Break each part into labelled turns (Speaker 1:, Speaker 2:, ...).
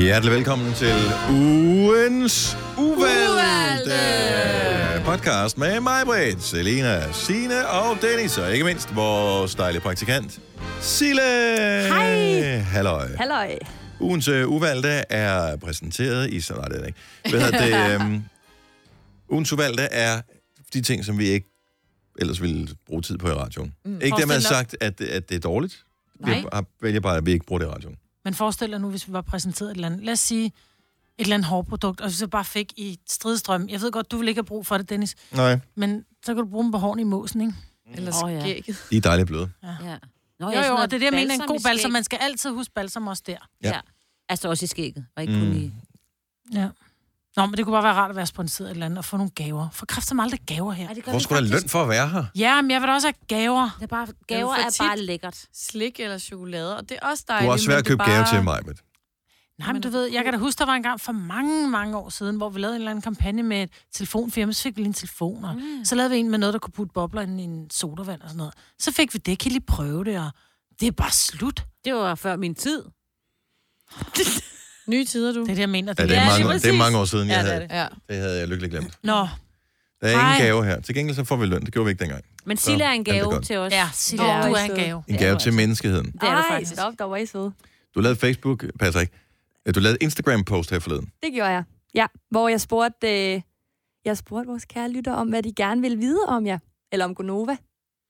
Speaker 1: Hjertelig velkommen til ugens uvalgte podcast med mig, Britt, Selina, Sine og Dennis, og ikke mindst vores dejlige praktikant, Sille.
Speaker 2: Hej.
Speaker 1: Halløj.
Speaker 2: Halløj.
Speaker 1: Ugens øh, uvalgte er præsenteret i... Så nej, det er det ikke. Hvad hedder det? øhm, ugens uvalgte er de ting, som vi ikke ellers ville bruge tid på i radioen. Mm. Ikke dermed
Speaker 3: Forestil dig.
Speaker 1: sagt, at, at det er dårligt. Vi
Speaker 3: Nej.
Speaker 1: har- vælger bare, at vi ikke bruger det i radioen.
Speaker 3: Men forestil dig nu, hvis vi var præsenteret et eller andet, lad os sige, et eller andet hårprodukt, og så bare fik i stridstrøm. Jeg ved godt, du vil ikke have brug for det, Dennis,
Speaker 1: Nej.
Speaker 3: men så kan du bruge dem på hårene i måsen, ikke?
Speaker 4: Eller
Speaker 2: Åh, ja.
Speaker 4: skægget.
Speaker 1: De er dejligt bløde.
Speaker 2: Ja. Nå,
Speaker 3: Jo,
Speaker 2: ja, sådan
Speaker 3: jo,
Speaker 2: noget
Speaker 3: og det er det, jeg mener, en god
Speaker 2: i
Speaker 3: balsam.
Speaker 2: skæg.
Speaker 3: Man skal altid huske balsam også der.
Speaker 1: Ja.
Speaker 2: Ja. ja. Altså også i skægget, og ikke mm. kun
Speaker 1: Mm.
Speaker 2: i...
Speaker 3: Ja. Nå, men det kunne bare være rart at være sponsoreret et eller andet og få nogle gaver. For kræft som aldrig gaver her.
Speaker 2: Ej, det gør
Speaker 1: Hvor
Speaker 2: vi
Speaker 1: skulle der
Speaker 2: faktisk.
Speaker 1: løn for at være her?
Speaker 3: Ja, men jeg vil da også have gaver.
Speaker 2: Det er bare, gaver
Speaker 4: for
Speaker 2: er
Speaker 4: tit.
Speaker 2: bare lækkert.
Speaker 4: Slik eller chokolade, og det er også
Speaker 1: Du
Speaker 4: dejligt.
Speaker 1: har også svært at købe bare... gave til mig, men...
Speaker 3: Nej, men du ved, jeg kan da huske, der var en gang for mange, mange år siden, hvor vi lavede en eller anden kampagne med et telefonfirma, så fik vi lige en telefon, og mm. så lavede vi en med noget, der kunne putte bobler ind i en sodavand og sådan noget. Så fik vi det, kan I lige prøve det, og det er bare slut. Det
Speaker 2: Det var før min tid.
Speaker 4: Nye tider, du.
Speaker 3: er det, jeg mener.
Speaker 1: Ja, det, er
Speaker 4: Ja,
Speaker 1: mange,
Speaker 4: lige
Speaker 1: år- det er
Speaker 4: præcis.
Speaker 1: mange år siden, jeg
Speaker 2: Ja, det er
Speaker 1: havde.
Speaker 2: det.
Speaker 4: Ja.
Speaker 1: Det havde jeg lykkeligt glemt.
Speaker 3: Nå,
Speaker 1: Der er ingen
Speaker 3: Ej.
Speaker 1: gave her. Til gengæld så får vi løn. Det gjorde vi ikke dengang.
Speaker 2: Men Silla er en
Speaker 1: alt er
Speaker 2: gave
Speaker 1: godt.
Speaker 2: til os.
Speaker 3: ja, Silla,
Speaker 4: Nå,
Speaker 3: du
Speaker 4: i
Speaker 3: er en
Speaker 4: stedet.
Speaker 3: gave.
Speaker 1: En
Speaker 2: Ja,
Speaker 1: gave
Speaker 2: det
Speaker 1: til menneskeheden.
Speaker 2: Det er du
Speaker 5: Ej,
Speaker 2: faktisk.
Speaker 5: stop, der var I søde.
Speaker 1: Du lavede Facebook, Patrick. Øh, Du lavede Instagram-post her forleden.
Speaker 5: Det gjorde jeg. Ja, hvor jeg spurgte, øh, jeg spurgte vores kære lytter om, hvad de gerne ville vide om jer. Eller om Gonova.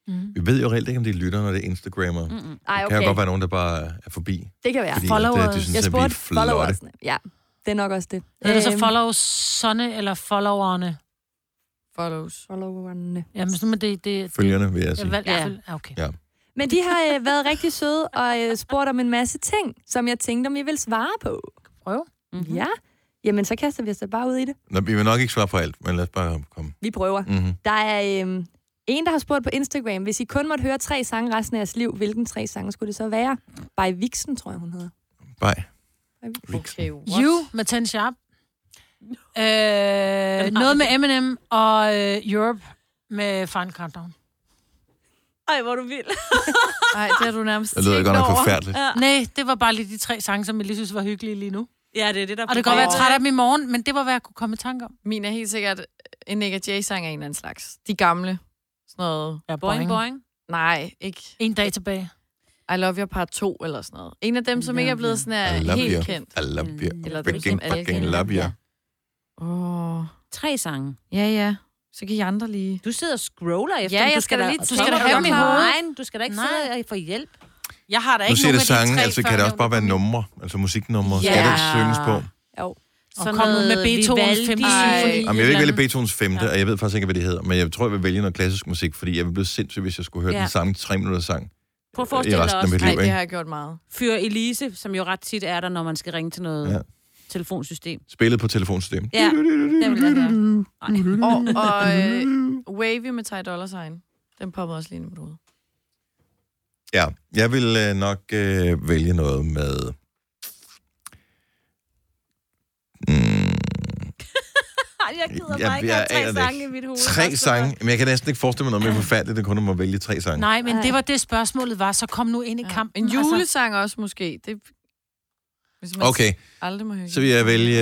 Speaker 3: Mm.
Speaker 1: Vi ved jo reelt ikke, om det er lytter, når det er Instagrammer. Mm.
Speaker 2: Mm-mm.
Speaker 5: Ej,
Speaker 1: Der
Speaker 5: okay.
Speaker 1: kan jo godt være nogen, der bare er forbi.
Speaker 5: Det kan være.
Speaker 1: Fordi
Speaker 3: Followers.
Speaker 1: Det, det, synes,
Speaker 5: jeg
Speaker 1: at vi er
Speaker 5: spurgte
Speaker 1: flotte.
Speaker 5: followersne. Ja, det er nok også det.
Speaker 3: Er det så
Speaker 5: Øhm,
Speaker 3: follow sonne eller followerne?
Speaker 4: Follows.
Speaker 5: followerne?
Speaker 3: Jamen, sådan med det... det
Speaker 1: Følgerne, vil jeg
Speaker 3: jeg
Speaker 1: sige.
Speaker 3: valgte,
Speaker 2: Ja.
Speaker 3: ja. ja, okay.
Speaker 5: Men de har øh, været rigtig søde og øh, spurgt om en masse ting, som jeg tænkte, om I ville svare på.
Speaker 3: Prøv.
Speaker 2: Mm-hmm.
Speaker 5: Ja, jamen så kaster vi os da bare ud i det.
Speaker 1: Nå, vi vil nok ikke svare på alt, men lad os bare komme.
Speaker 5: Vi prøver.
Speaker 1: Mm-hmm.
Speaker 5: Der er øh, en, der har spurgt på Instagram, hvis I kun måtte høre tre sange resten af jeres liv, hvilken tre sange skulle det så være? By Vixen, tror jeg, hun hedder.
Speaker 1: Bye.
Speaker 4: Okay, what?
Speaker 3: You med 10 Sharp. Øh, noget med Eminem og øh, Europe med Final Countdown.
Speaker 2: Ej, hvor du vild.
Speaker 4: Nej, det har du nærmest
Speaker 1: Det lyder
Speaker 4: tænkt
Speaker 1: godt nok
Speaker 4: over.
Speaker 1: forfærdeligt.
Speaker 2: Ja.
Speaker 3: Nej, det var bare lige de tre sange, som jeg lige synes var hyggelige lige nu.
Speaker 2: ja, det er det, der
Speaker 3: Og det kan godt være, jeg er træt af dem i morgen, men det var, hvad jeg kunne komme i tanke om.
Speaker 4: Min er helt sikkert en Nick og Jay-sang af en eller anden slags. De gamle. Sådan noget.
Speaker 3: Ja,
Speaker 2: Boing, boing.
Speaker 4: Nej, ikke.
Speaker 3: En dag tilbage.
Speaker 4: I Love Your Part 2 eller sådan noget. En af dem, som ikke er blevet sådan
Speaker 1: I
Speaker 4: her
Speaker 1: love
Speaker 4: helt
Speaker 1: you.
Speaker 4: kendt.
Speaker 1: I
Speaker 2: Mm.
Speaker 1: love you.
Speaker 4: Eller dem,
Speaker 1: Fucking,
Speaker 4: som alle
Speaker 1: fucking
Speaker 4: kender.
Speaker 1: love you.
Speaker 4: Åh.
Speaker 2: Tre sange.
Speaker 4: Ja, ja. Så kan I andre lige...
Speaker 2: Du sidder og scroller efter
Speaker 4: Ja,
Speaker 2: dem.
Speaker 4: jeg
Speaker 2: Du
Speaker 4: skal da lige
Speaker 2: du
Speaker 4: tænke
Speaker 2: skal da
Speaker 4: over
Speaker 2: have dem
Speaker 4: dem
Speaker 2: i
Speaker 4: i hovedet.
Speaker 2: hovedet. Du skal da ikke
Speaker 3: Nej.
Speaker 2: sidde og få hjælp.
Speaker 3: Jeg har da
Speaker 1: Nu
Speaker 3: ikke
Speaker 1: siger
Speaker 3: nogen
Speaker 1: det
Speaker 3: af de
Speaker 1: sange,
Speaker 3: tre
Speaker 1: altså kan det også bare være numre, altså musiknumre.
Speaker 2: Ja.
Speaker 1: Skal det ikke synges på?
Speaker 5: Jo.
Speaker 3: Og kom ud med Beethovens femte symfoni.
Speaker 1: Jamen, jeg vil ikke vælge
Speaker 3: Eller-
Speaker 1: Beethovens 5., ja. og jeg ved faktisk ikke, hvad det hedder, men jeg tror, jeg vil vælge noget klassisk musik, fordi jeg vil blive sindssyg, hvis jeg skulle høre
Speaker 2: Ja.
Speaker 1: ja. den samme 3 minutter sang.
Speaker 2: Prøv at forestille dig
Speaker 1: resten af mit liv.
Speaker 2: også.
Speaker 4: Nej,
Speaker 1: ikke?
Speaker 4: det har jeg gjort meget.
Speaker 2: Fyr Elise, som jo ret tit er der, når man skal ringe til noget
Speaker 1: Ja.
Speaker 2: ja. telefonsystem.
Speaker 1: Spillet på telefonsystemet.
Speaker 2: Ja, det vil jeg have.
Speaker 4: Og, og øh, Wavy med Ty Dolla Sign. Den popper også lige ind i mit hoved.
Speaker 1: Ja, jeg vil øh, nok øh, vælge noget med... Mm,
Speaker 2: Ej, jeg gider
Speaker 1: Ja,
Speaker 2: bare ikke
Speaker 1: jeg
Speaker 2: have
Speaker 1: aner
Speaker 2: tre
Speaker 1: det
Speaker 2: sange
Speaker 1: ikke.
Speaker 2: i mit hoved.
Speaker 1: tre sange, men jeg kan næsten ikke forestille mig noget mere forfærdeligt, end kun at man vælge tre sange.
Speaker 3: Nej, men det var det, spørgsmålet var. Så kom nu ind i kampen. Altså,
Speaker 4: En julesang også måske. Det, hvis man
Speaker 1: Okay,
Speaker 4: aldrig må høre.
Speaker 1: så vil jeg vælge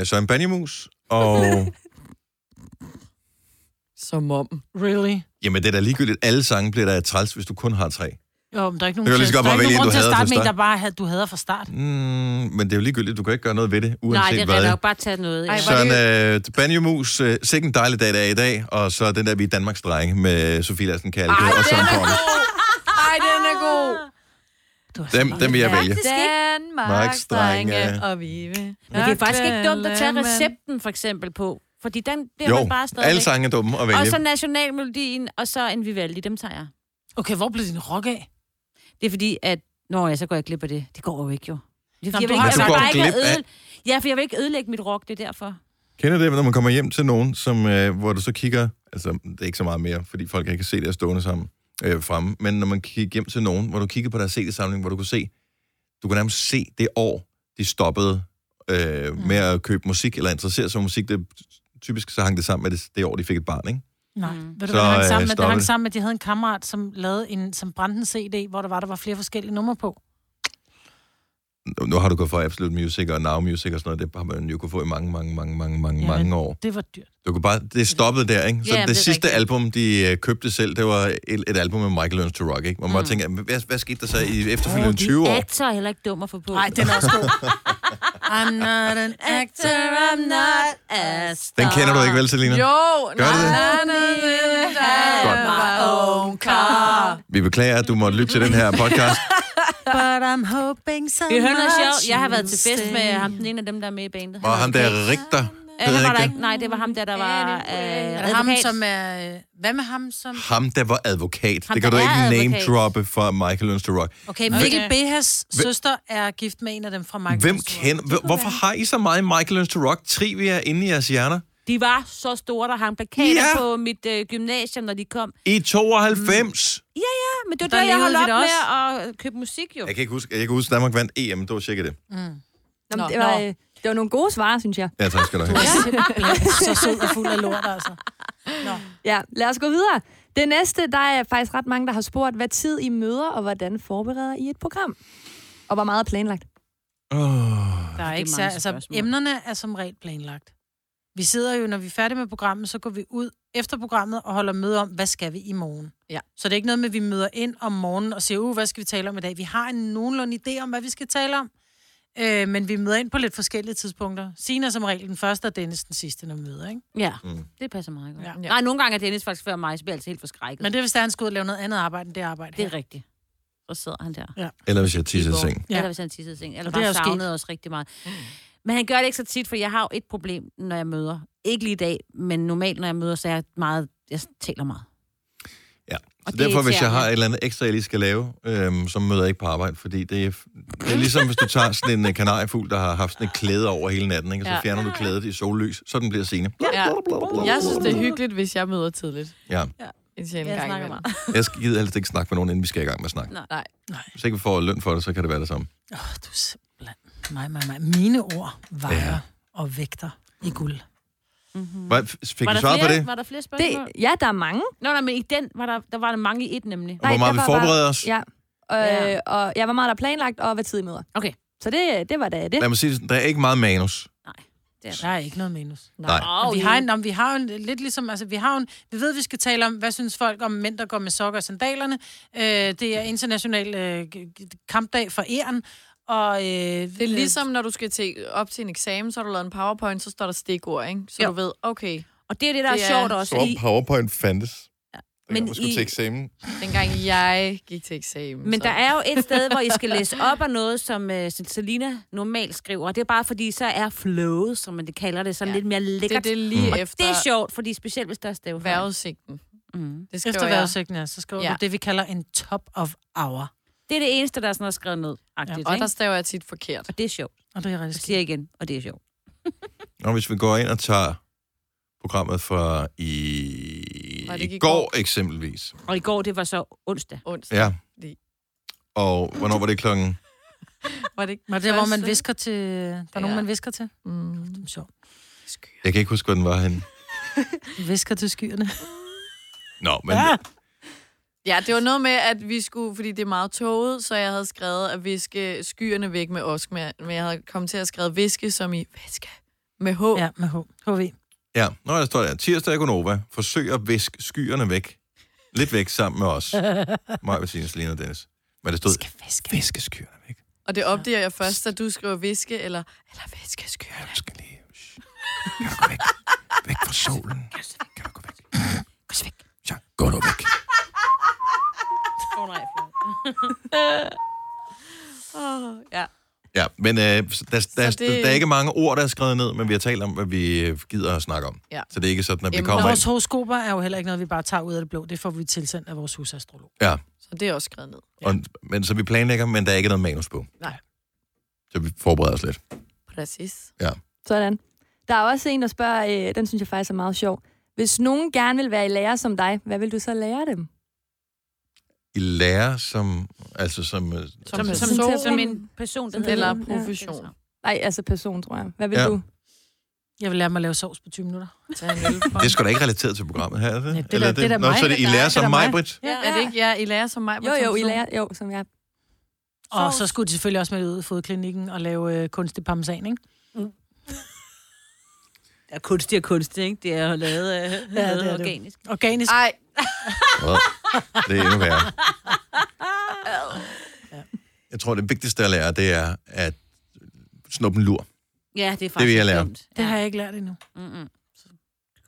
Speaker 1: øh, Søren Banjemus, og...
Speaker 4: Som om.
Speaker 3: Altså, really?
Speaker 1: Jamen, det er da ligegyldigt. Alle sange bliver da træls, hvis du kun har tre.
Speaker 3: Jo, men der er ikke
Speaker 1: Det kan
Speaker 3: nogen,
Speaker 1: lige så godt
Speaker 3: der er
Speaker 1: bare
Speaker 3: ikke
Speaker 1: vælge en,
Speaker 3: nogen
Speaker 1: du
Speaker 3: grund til at
Speaker 1: hader
Speaker 3: starte
Speaker 1: fra
Speaker 3: med, en,
Speaker 1: start.
Speaker 3: der bare havde, du hader fra start.
Speaker 1: Mm, men det er jo ligegyldigt. Du kan ikke gøre noget ved det,
Speaker 2: Nej,
Speaker 1: uanset
Speaker 2: det
Speaker 1: hvad.
Speaker 2: er nok bare tage noget.
Speaker 4: Ej,
Speaker 2: ja.
Speaker 1: Søren
Speaker 4: hvor-
Speaker 1: øh, Banjemus, øh, sikke en dejlig dag, der er i dag, og så den der Vi er Danmarks Drenge med Sofie Lassen Kalke og Søren Pomme.
Speaker 4: Ej, den er god.
Speaker 3: Du er så
Speaker 1: Dem,
Speaker 3: meget.
Speaker 1: dem vil jeg vælge.
Speaker 2: Faktisk ikke.
Speaker 4: Danmarks
Speaker 1: Marks drenge.
Speaker 4: drenge og Vive.
Speaker 2: Men det er faktisk ikke dumt at tage recepten, for eksempel, på. Fordi den bliver man
Speaker 1: Jo,
Speaker 2: bare stadigvæk.
Speaker 1: alle sange er dumme at
Speaker 2: Og
Speaker 1: vælge.
Speaker 2: så nationalmelodien, og så en Vivaldi, dem tager jeg.
Speaker 3: Okay, hvor blev din rock af?
Speaker 2: Det er fordi, at... Nå ja, så går jeg glip af det. Det går jo ikke, jo. Det er,
Speaker 3: Nå,
Speaker 2: fordi, jeg
Speaker 3: du
Speaker 2: vil
Speaker 3: har-
Speaker 2: ikke, jeg vil
Speaker 3: Men du går
Speaker 2: bare
Speaker 1: jo
Speaker 2: ikke
Speaker 1: Altså, glip af-
Speaker 2: ødelægge... Ja, for jeg vil ikke ødelægge mit rock, det er derfor.
Speaker 1: Kender det, når man kommer hjem til nogen, som, øh, hvor du så kigger, altså det er ikke så meget mere, fordi folk ikke kan se det her stående sammen øh, fremme, men når man kigger hjem til nogen, hvor du kigger på deres CD-samling, hvor du kunne se, du kunne nærmest se det år, de stoppede øh, med at købe musik, eller interessere sig for musik, det typisk så hang det sammen med det, det år, de fik et barn, ikke?
Speaker 3: Nej,
Speaker 2: Mm.
Speaker 3: ved du,
Speaker 1: Så, øh,
Speaker 3: hvad det hang sammen med?
Speaker 1: stopper
Speaker 3: Det hang
Speaker 1: det.
Speaker 3: sammen med, at de havde en kammerat, som, lavede en, som brændte en CD, hvor der var, der var flere forskellige numre på.
Speaker 1: nu- nu har du gået fra Absolute Music og Now Music og sådan noget, det har man jo kunne få i mange, mange, mange, mange, mange,
Speaker 3: Ja,
Speaker 1: mange år.
Speaker 3: Det var dyrt.
Speaker 1: Du kunne bare, det stoppede der, ikke? Så
Speaker 2: Ja,
Speaker 1: ja, det,
Speaker 2: men det er
Speaker 1: sidste
Speaker 2: rigtigt.
Speaker 1: album, de øh, købte selv, det var et, et album med Michael Learns to Rock, ikke? Man mm. bare tænker, hvad, hvad skete der så i efterfølgende 20 år?
Speaker 2: Actor er heller ikke dum at få på.
Speaker 3: Nej, den er også god.
Speaker 4: Ah,
Speaker 3: I'm not an actor, I'm not
Speaker 2: a
Speaker 1: Den kender du ikke vel, Selina?
Speaker 4: Jo,
Speaker 1: Gør
Speaker 4: nej,
Speaker 1: du det?
Speaker 4: nej, nej, nej, nej,
Speaker 1: Godt.
Speaker 4: my own car.
Speaker 1: Vi beklager, at du måtte lytte til den her podcast.
Speaker 3: But I'm hoping so
Speaker 2: Det er noget
Speaker 3: much
Speaker 2: sjovt. Jeg har været til
Speaker 3: you'll
Speaker 2: fest
Speaker 3: stay.
Speaker 2: med ham, den ene af dem, der er med i bandet.
Speaker 1: Og
Speaker 2: Han
Speaker 1: ham
Speaker 2: hedder
Speaker 1: der
Speaker 2: Kate.
Speaker 1: Rigter.
Speaker 2: Ja,
Speaker 1: Ved
Speaker 2: han
Speaker 1: jeg
Speaker 2: var der
Speaker 1: ikke
Speaker 2: ikke. Nej, det var ham der, der var øh,
Speaker 3: Er det ham,
Speaker 2: advokat.
Speaker 3: som er... øh, Hvad med ham, som...
Speaker 1: det. Ham, der var advokat.
Speaker 2: Ham,
Speaker 1: det kan
Speaker 2: der
Speaker 1: du
Speaker 2: er
Speaker 1: ikke
Speaker 2: advokat.
Speaker 1: name-droppe fra Michael Learns to Rock.
Speaker 3: Okay, Mikkel Behas søster er gift med en af dem fra Michael.
Speaker 1: Hvem
Speaker 3: Jackson.
Speaker 1: kender... Hvem, hvorfor har I så meget Michael Learns to Rock trivia inde i jeres hjerner?
Speaker 2: De var så store, der hang plakater
Speaker 1: Ja.
Speaker 2: på mit øh, gymnasium, når de kom.
Speaker 1: I 92! Mm.
Speaker 2: Ja, men det var
Speaker 3: Der
Speaker 2: der, jeg
Speaker 3: levede
Speaker 2: holdt
Speaker 3: vi
Speaker 2: op
Speaker 3: det
Speaker 2: med
Speaker 3: også.
Speaker 2: at øh, købe musik, jo.
Speaker 1: Jeg kan ikke huske, jeg kan huske Danmark vandt EM, det var cirka det.
Speaker 3: Mm.
Speaker 5: Nå, men
Speaker 4: Nå.
Speaker 5: det, var, øh, det var nogle gode svar, synes jeg.
Speaker 1: Ja, tak skal du have.
Speaker 3: Så sød og fuld af lort, altså.
Speaker 5: Ja, lad os gå videre. Det næste, der er faktisk ret mange, der har spurgt, hvad tid I møder, og hvordan forbereder I et program? Og hvor meget er planlagt?
Speaker 1: Oh.
Speaker 3: Der er
Speaker 2: mange
Speaker 3: ikke sær, altså,
Speaker 2: spørgsmål.
Speaker 3: emnerne er som regel planlagt. Vi sidder jo, når vi er færdige med programmet, så går vi ud efter programmet og holder møde om, hvad skal vi i morgen.
Speaker 4: Ja.
Speaker 3: Så det er ikke noget med, at vi møder ind om morgenen og siger, uh, hvad skal vi tale om i dag? Vi har en nogenlunde idé om, hvad vi skal tale om, øh, men vi møder ind på lidt forskellige tidspunkter. Sina er som regel den første, og Dennis den sidste, når vi møder, ikke?
Speaker 2: Ja,
Speaker 1: Mm.
Speaker 2: det passer meget godt.
Speaker 3: Ja.
Speaker 2: Ja. Nej, nogle gange er Dennis faktisk før mig, så bliver jeg altså helt forskrækket.
Speaker 3: Men det er, hvis der er, han skal ud og lave noget andet arbejde end det arbejde
Speaker 2: det
Speaker 3: her.
Speaker 2: er rigtigt. Så sidder han der.
Speaker 1: Eller hvis jeg tisser i
Speaker 2: går.
Speaker 1: seng.
Speaker 3: Ja.
Speaker 2: Ja. Eller hvis han tissede i seng. Eller
Speaker 3: Og det
Speaker 2: bare
Speaker 3: er jo sket.
Speaker 2: savnede os rigtig meget. Men han gør det ikke så tit, for jeg har jo et problem, når jeg møder. Ikke lige i dag, men normalt, når jeg møder, så er jeg meget... Jeg taler meget.
Speaker 1: Ja.
Speaker 2: Og
Speaker 1: Så
Speaker 2: det
Speaker 1: derfor, hvis jeg
Speaker 2: irriterer
Speaker 1: har
Speaker 2: mig.
Speaker 1: et eller andet ekstra, jeg lige skal lave, øhm, så møder jeg ikke på arbejde, fordi det er, det er ligesom, hvis du tager sådan en øh, kanariefugl, der har haft sådan et klæde over hele natten, ikke? og så
Speaker 4: Ja.
Speaker 1: fjerner du klædet i sollys, så den bliver sene.
Speaker 4: Ja. Jeg synes, det er hyggeligt, hvis jeg møder tidligt.
Speaker 1: Ja.
Speaker 4: En
Speaker 2: Mm.
Speaker 4: sjældent
Speaker 2: Jeg
Speaker 4: gang
Speaker 2: snakker
Speaker 4: imellem.
Speaker 1: Jeg skal gider helst ikke snakke med nogen, inden vi skal i gang med at snakke.
Speaker 2: Nej.
Speaker 4: Nej.
Speaker 1: Hvis ikke vi får løn for det, så kan det være det samme.
Speaker 3: Åh, oh, du er simpelthen... Mig, mig, mig. Mine ord vejer
Speaker 1: Ja.
Speaker 3: ja. og vægter i guld.
Speaker 1: Hvad, fik
Speaker 2: Var
Speaker 1: du
Speaker 2: der,
Speaker 1: svaret
Speaker 2: flere,
Speaker 1: på det?
Speaker 2: var der flere
Speaker 5: Det,
Speaker 2: spørgsmål? Det...
Speaker 5: ja, der er mange.
Speaker 2: Nå, nej, men i den var der, der var der mange i et nemlig.
Speaker 1: Og hvor meget vi
Speaker 5: der var
Speaker 1: forbereder os?
Speaker 5: Ja. Øh,
Speaker 2: Ja.
Speaker 5: og ja, hvor meget der er planlagt, og hvad tid I møder.
Speaker 2: Okay.
Speaker 5: Så det, øh, det var da det.
Speaker 1: Lad mig sige det sådan, der er ikke meget manus.
Speaker 3: Der er ikke noget minus.
Speaker 1: Nej.
Speaker 2: Oh,
Speaker 3: Og vi har, en, om, vi har jo en, lidt ligesom, altså vi har jo en, vi ved, vi skal tale om, hvad synes folk om mænd, der går med sokker og sandalerne. Øh, det er international øh, g- g- kampdag for æren. Og, øh,
Speaker 4: Det er ligesom, når du skal til, op til en eksamen, så har du lavet en powerpoint, så står der stikord, ikke? Så
Speaker 2: Jo.
Speaker 4: du ved, okay,
Speaker 2: Og det er det, der
Speaker 4: Det
Speaker 2: er,
Speaker 4: er-
Speaker 2: sjovt også. I,
Speaker 1: PowerPoint fandtes.
Speaker 2: Men dengang man skulle I- til
Speaker 1: eksamen.
Speaker 4: dengang jeg gik til eksamen.
Speaker 2: men
Speaker 4: så.
Speaker 2: der er jo et sted, hvor I skal læse op af noget, som uh, Selina normalt skriver. Og det er bare fordi, så er flowet, som man det kalder det, sådan
Speaker 4: Ja.
Speaker 2: lidt mere
Speaker 4: Det er
Speaker 2: lækkert. Det,
Speaker 4: det lige
Speaker 1: Og
Speaker 4: efter
Speaker 2: det, det er sjovt, fordi specielt hvis der er stavefejl.
Speaker 4: vejrudsigten.
Speaker 2: Mm.
Speaker 4: Det skriver
Speaker 3: Efter
Speaker 4: jeg.
Speaker 3: vejrudsigten, ja, så skriver ja.
Speaker 4: Ja.
Speaker 3: du det, vi kalder en top of hour.
Speaker 2: Det er det eneste, der er sådan noget skrevet ned. Ja,
Speaker 3: Ja,
Speaker 2: og,
Speaker 4: Og der staver jeg tit forkert.
Speaker 2: og det er sjovt.
Speaker 3: Og det er
Speaker 2: Jeg
Speaker 3: rigtig
Speaker 2: siger
Speaker 3: skidt.
Speaker 2: igen, og det er sjovt.
Speaker 1: Og hvis vi går ind og tager programmet fra i,
Speaker 4: Var det ikke
Speaker 1: i
Speaker 4: i
Speaker 1: går eksempelvis.
Speaker 2: Og i går, det var så onsdag.
Speaker 4: Onsdag.
Speaker 1: Ja.
Speaker 4: Lige.
Speaker 1: Og hvornår var det klokken?
Speaker 4: Var det ikke
Speaker 3: Var det, hvor man
Speaker 4: første?
Speaker 3: visker til... Der er nogen,
Speaker 4: Ja.
Speaker 3: man visker til.
Speaker 4: Mm.
Speaker 3: Sjovt.
Speaker 1: Jeg kan ikke huske, hvor den var henne.
Speaker 3: Visker til skyerne. Ah!
Speaker 1: Nå, men
Speaker 3: Ja.
Speaker 4: Ja, det var noget med, at vi skulle, fordi det er meget tåget, så jeg havde skrevet at viske skyerne væk med osk, men men jeg havde kommet til at skrive viske som i væske med H. Ja.
Speaker 3: Ja, med H. HV.
Speaker 1: ja. Nå, der står der. Tirsdag i Gonova. Forsøg at viske skyerne væk. Lidt væk sammen med os. Mig, Bettine, Selina og Dennis. Men det stod,
Speaker 3: Skal viske.
Speaker 1: viske skyerne væk.
Speaker 4: Og det opdager jeg først, at du skriver viske eller, eller væske
Speaker 1: Ja,
Speaker 4: skyerne.
Speaker 1: du skal lige... Shh. Kan du gå væk? Væk fra solen. Kan du gå væk?
Speaker 2: Gå så væk.
Speaker 1: Ja, gå nu væk.
Speaker 2: Åh, nej,
Speaker 4: Oh, ja.
Speaker 1: Ja, men øh, der, der, der,
Speaker 4: det-
Speaker 1: der er ikke mange ord, der er skrevet ned, men vi har talt om, hvad vi øh, gider at snakke om.
Speaker 4: Ja.
Speaker 1: Så det er ikke sådan, at vi
Speaker 4: Emner.
Speaker 1: kommer
Speaker 3: Vores
Speaker 1: ind.
Speaker 3: horoskoper er jo heller ikke noget, vi bare tager ud af det blå. Det får vi tilsendt af vores husastrolog.
Speaker 1: Ja,
Speaker 4: Så det er også skrevet ned.
Speaker 1: og, men, så vi planlægger, men der er ikke noget manus på.
Speaker 4: Nej.
Speaker 1: Så vi forbereder os lidt.
Speaker 4: Præcis.
Speaker 5: Sådan. Der er også en, der spørger, øh, den synes jeg faktisk er meget sjov. Hvis nogen gerne vil være i lærer som dig, hvad vil du så lære dem?
Speaker 1: I lærer som... Altså som... øh,
Speaker 4: Som,
Speaker 1: altså,
Speaker 4: som,
Speaker 5: som-
Speaker 4: som,
Speaker 2: Som en person, der
Speaker 5: Som-
Speaker 2: hedder-
Speaker 4: eller profession.
Speaker 5: Nej, altså person, tror jeg. Hvad vil
Speaker 1: Ja.
Speaker 5: ja. du?
Speaker 3: Jeg vil lære mig at lave sovs på 20 minutter.
Speaker 4: Tag en øl
Speaker 1: Det er
Speaker 4: fra.
Speaker 1: sgu da ikke relateret til programmet her, er det?
Speaker 3: Nej, det er da-
Speaker 1: Eller
Speaker 3: det er da
Speaker 1: Nå,
Speaker 3: mig,
Speaker 1: så er det, I
Speaker 3: der-
Speaker 1: lærer
Speaker 3: det er
Speaker 1: som
Speaker 3: da mig.
Speaker 1: mig, Britt.
Speaker 3: Ja.
Speaker 4: Er det ikke jer, I lærer som mig?
Speaker 5: Jo, jo, I lærer. Jo, som jeg.
Speaker 3: Og så skulle de selvfølgelig også med ud i fodklinikken og lave øh, kunstig parmesan, ikke?
Speaker 2: Ja, kunstig og kunstig, ikke? Det er jo lavet, af, ja, lavet
Speaker 3: det er det.
Speaker 2: organisk.
Speaker 3: Organisk.
Speaker 4: Ej,
Speaker 1: Det er endnu værre. Jeg tror, det vigtigste at lære, det er at snuppe en lur.
Speaker 2: Ja, det er faktisk
Speaker 1: vil jeg lære.
Speaker 2: dumt.
Speaker 3: Det
Speaker 2: Ja.
Speaker 3: har jeg ikke lært endnu.
Speaker 2: Mm-mm. Så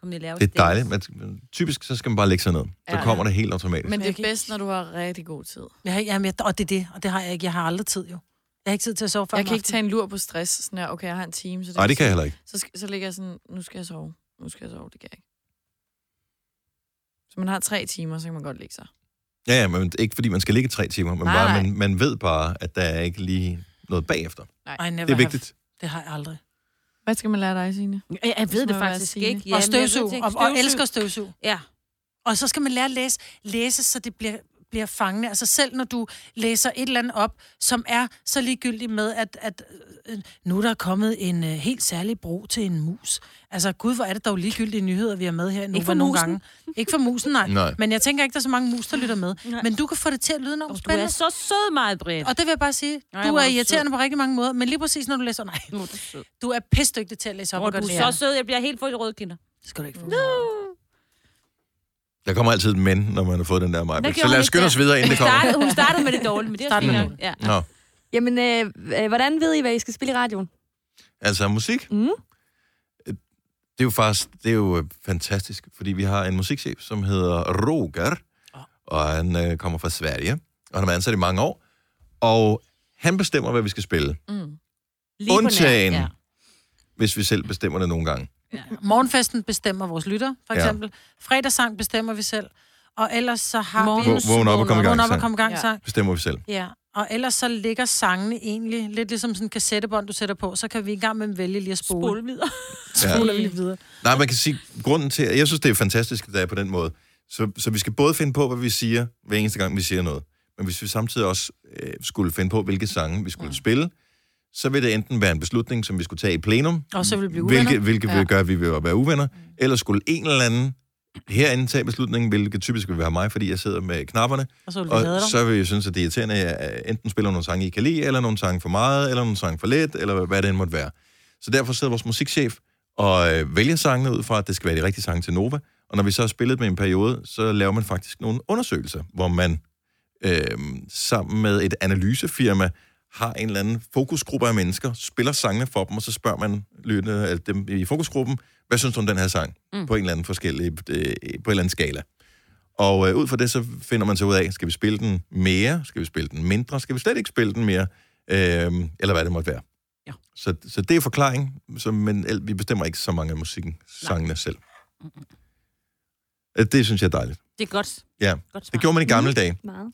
Speaker 2: kom lige og lave
Speaker 1: Det er
Speaker 2: stil.
Speaker 1: dejligt. Man, typisk så skal man bare lægge sig ned. Så
Speaker 4: Ja.
Speaker 1: kommer det helt automatisk.
Speaker 4: men det
Speaker 3: Jeg kan
Speaker 4: er bedst, når du har rigtig god tid.
Speaker 3: Jeg har, jamen, jeg, og det er det, og det har jeg ikke. Jeg har aldrig tid, jo. Jeg har ikke tid til at sove for
Speaker 4: Jeg kan ikke tage en lur på stress. Sådan her, okay, jeg har en time. Så det
Speaker 1: Nej, det kan jeg heller ikke.
Speaker 4: Så, sk- så ligger jeg sådan, nu skal jeg sove. Nu skal jeg sove, det kan jeg ikke. Så man har tre timer, så kan man godt ligge sig.
Speaker 1: Ja, ja, men ikke fordi man skal ligge i tre timer, men
Speaker 4: Nej,
Speaker 1: bare,
Speaker 4: nej.
Speaker 1: man, man ved bare, at der er ikke lige noget bagefter.
Speaker 3: I never
Speaker 1: Det er vigtigt.
Speaker 3: Have. Det har jeg aldrig.
Speaker 4: Hvad skal man lære dig, Signe?
Speaker 2: Jeg, jeg ved
Speaker 4: Det
Speaker 2: det
Speaker 4: må være
Speaker 2: faktisk
Speaker 4: Signe.
Speaker 2: ikke.
Speaker 3: Ja, og
Speaker 2: men jeg ved
Speaker 3: støvsug.
Speaker 2: det ikke.
Speaker 3: Og, og elsker støvsug.
Speaker 2: Ja.
Speaker 3: Og så skal man lære at læse, læse så det bliver, bliver fangende. Altså selv når du læser et eller andet op, som er så ligegyldigt med, at, at øh, nu er der kommet en øh, helt særlig bro til en mus. Altså gud, hvor er det dog ligegyldige nyheder, vi har med her nu.
Speaker 2: Ikke for
Speaker 3: hvor nogle
Speaker 2: musen.
Speaker 3: gange. Ikke for musen, nej.
Speaker 1: Nej.
Speaker 3: Men jeg tænker ikke, der er så mange mus, der lytter med.
Speaker 2: Nej.
Speaker 3: Nej. Men du kan få det til at lyde enormt
Speaker 2: Du er
Speaker 3: spændende.
Speaker 2: så sød, meget Britt.
Speaker 3: Og det vil jeg bare sige.
Speaker 2: Nej,
Speaker 3: du
Speaker 2: hvor
Speaker 3: er
Speaker 2: er du
Speaker 3: irriterende på rigtig mange måder, men lige præcis når du læser, nej,
Speaker 2: Nå, du er sød.
Speaker 3: du er pissdygtig til at læse op
Speaker 2: Nå,
Speaker 3: og
Speaker 2: du
Speaker 3: gøre det.
Speaker 2: er så sød, jeg bliver helt fuld i rødkinder.
Speaker 3: Det skal du ikke få.
Speaker 1: Der kommer altid et men, når man har fået den der mig.
Speaker 2: Hvad
Speaker 1: Så
Speaker 2: gjorde
Speaker 1: lad
Speaker 2: hun
Speaker 1: os
Speaker 2: ikke
Speaker 1: skynde
Speaker 2: der?
Speaker 1: os videre, inden
Speaker 2: Hun
Speaker 1: det kommer.
Speaker 2: startede, hun startede med det dårlige, men det er
Speaker 3: Startede
Speaker 2: fint
Speaker 3: med
Speaker 2: nok. Ja.
Speaker 1: Nå,
Speaker 5: Jamen, øh, øh, hvordan ved I, hvad I skal spille i radioen?
Speaker 1: altså musik.
Speaker 5: Mm.
Speaker 1: det er jo faktisk det er jo øh, fantastisk, fordi vi har en musikchef, som hedder Roger,
Speaker 2: Ah.
Speaker 1: og han øh, kommer fra Sverige, og han har været ansat i mange år, og han bestemmer, hvad vi skal spille,
Speaker 4: Mm.
Speaker 2: Lige på nær.
Speaker 1: Undtagen.
Speaker 2: Ja.
Speaker 1: hvis vi selv bestemmer det nogle gange.
Speaker 3: Morgenfesten bestemmer vores lytter, for
Speaker 1: Ja.
Speaker 3: eksempel. Fredagssang bestemmer vi selv. Og ellers så har
Speaker 1: Vågn
Speaker 3: vi...
Speaker 2: Morgens-
Speaker 1: vågn op og kom i
Speaker 3: Vågn
Speaker 1: gang.
Speaker 3: op og
Speaker 1: sang.
Speaker 3: kom i gang sang.
Speaker 1: Bestemmer vi selv.
Speaker 3: Ja. Og ellers så ligger sangene egentlig lidt ligesom sådan en kassettebånd, du sætter på. Så kan vi i gang med at vælge lige at spole.
Speaker 2: Spole videre.
Speaker 1: Ja.
Speaker 3: Spoler vi lige videre.
Speaker 1: Nej, man kan sige, grunden til, jeg synes, det er fantastisk, at det er på den måde. Så, så vi skal både finde på, hvad vi siger, hver eneste gang, vi siger noget. Men hvis vi samtidig også øh, skulle finde på, hvilke sange vi skulle mm. spille, så vil det enten være en beslutning, som vi skulle tage i plenum,
Speaker 3: Og så vil vi blive uvenner. Mm.
Speaker 1: hvilke, hvilke ja.
Speaker 4: Ja.
Speaker 1: vil gøre, at vi vil være uvenner. Eller skulle en eller anden herinde tage beslutningen, hvilket typisk vil være mig, fordi jeg sidder med knapperne,
Speaker 3: Og så vil vi
Speaker 1: og
Speaker 3: hade dig.
Speaker 1: så vil jeg synes, at det er irriterende, at jeg øh, enten spiller nogle sange, I kan lide, eller nogle sange for meget, eller nogle sange for lidt, eller hvad det end måtte være. Så derfor sidder vores musikchef og øh, vælger sangene ud fra, at det skal være de rigtige sange til Nova. Og når vi så har spillet med en periode, så laver man faktisk nogle undersøgelser, hvor man øh, sammen med et analysefirma har en eller anden fokusgruppe af mennesker, spiller sangene for dem, og så spørger man lytterne, altså dem i fokusgruppen, hvad synes du om den her sang? Mm. På en eller anden forskellig, øh, på en eller anden skala. Og øh, ud fra det, så finder man så ud af, skal vi spille den mere? Skal vi spille den mindre? Skal vi slet ikke spille den mere? Øhm, eller hvad det måtte være.
Speaker 2: Ja.
Speaker 1: Så, så det er forklaring, så, men el- vi bestemmer ikke så mange af musikken, sangene selv. Øh, Det synes jeg er dejligt.
Speaker 2: Det er godt.
Speaker 1: Ja,
Speaker 2: godt
Speaker 1: det gjorde man i gamle dage.
Speaker 5: Meget.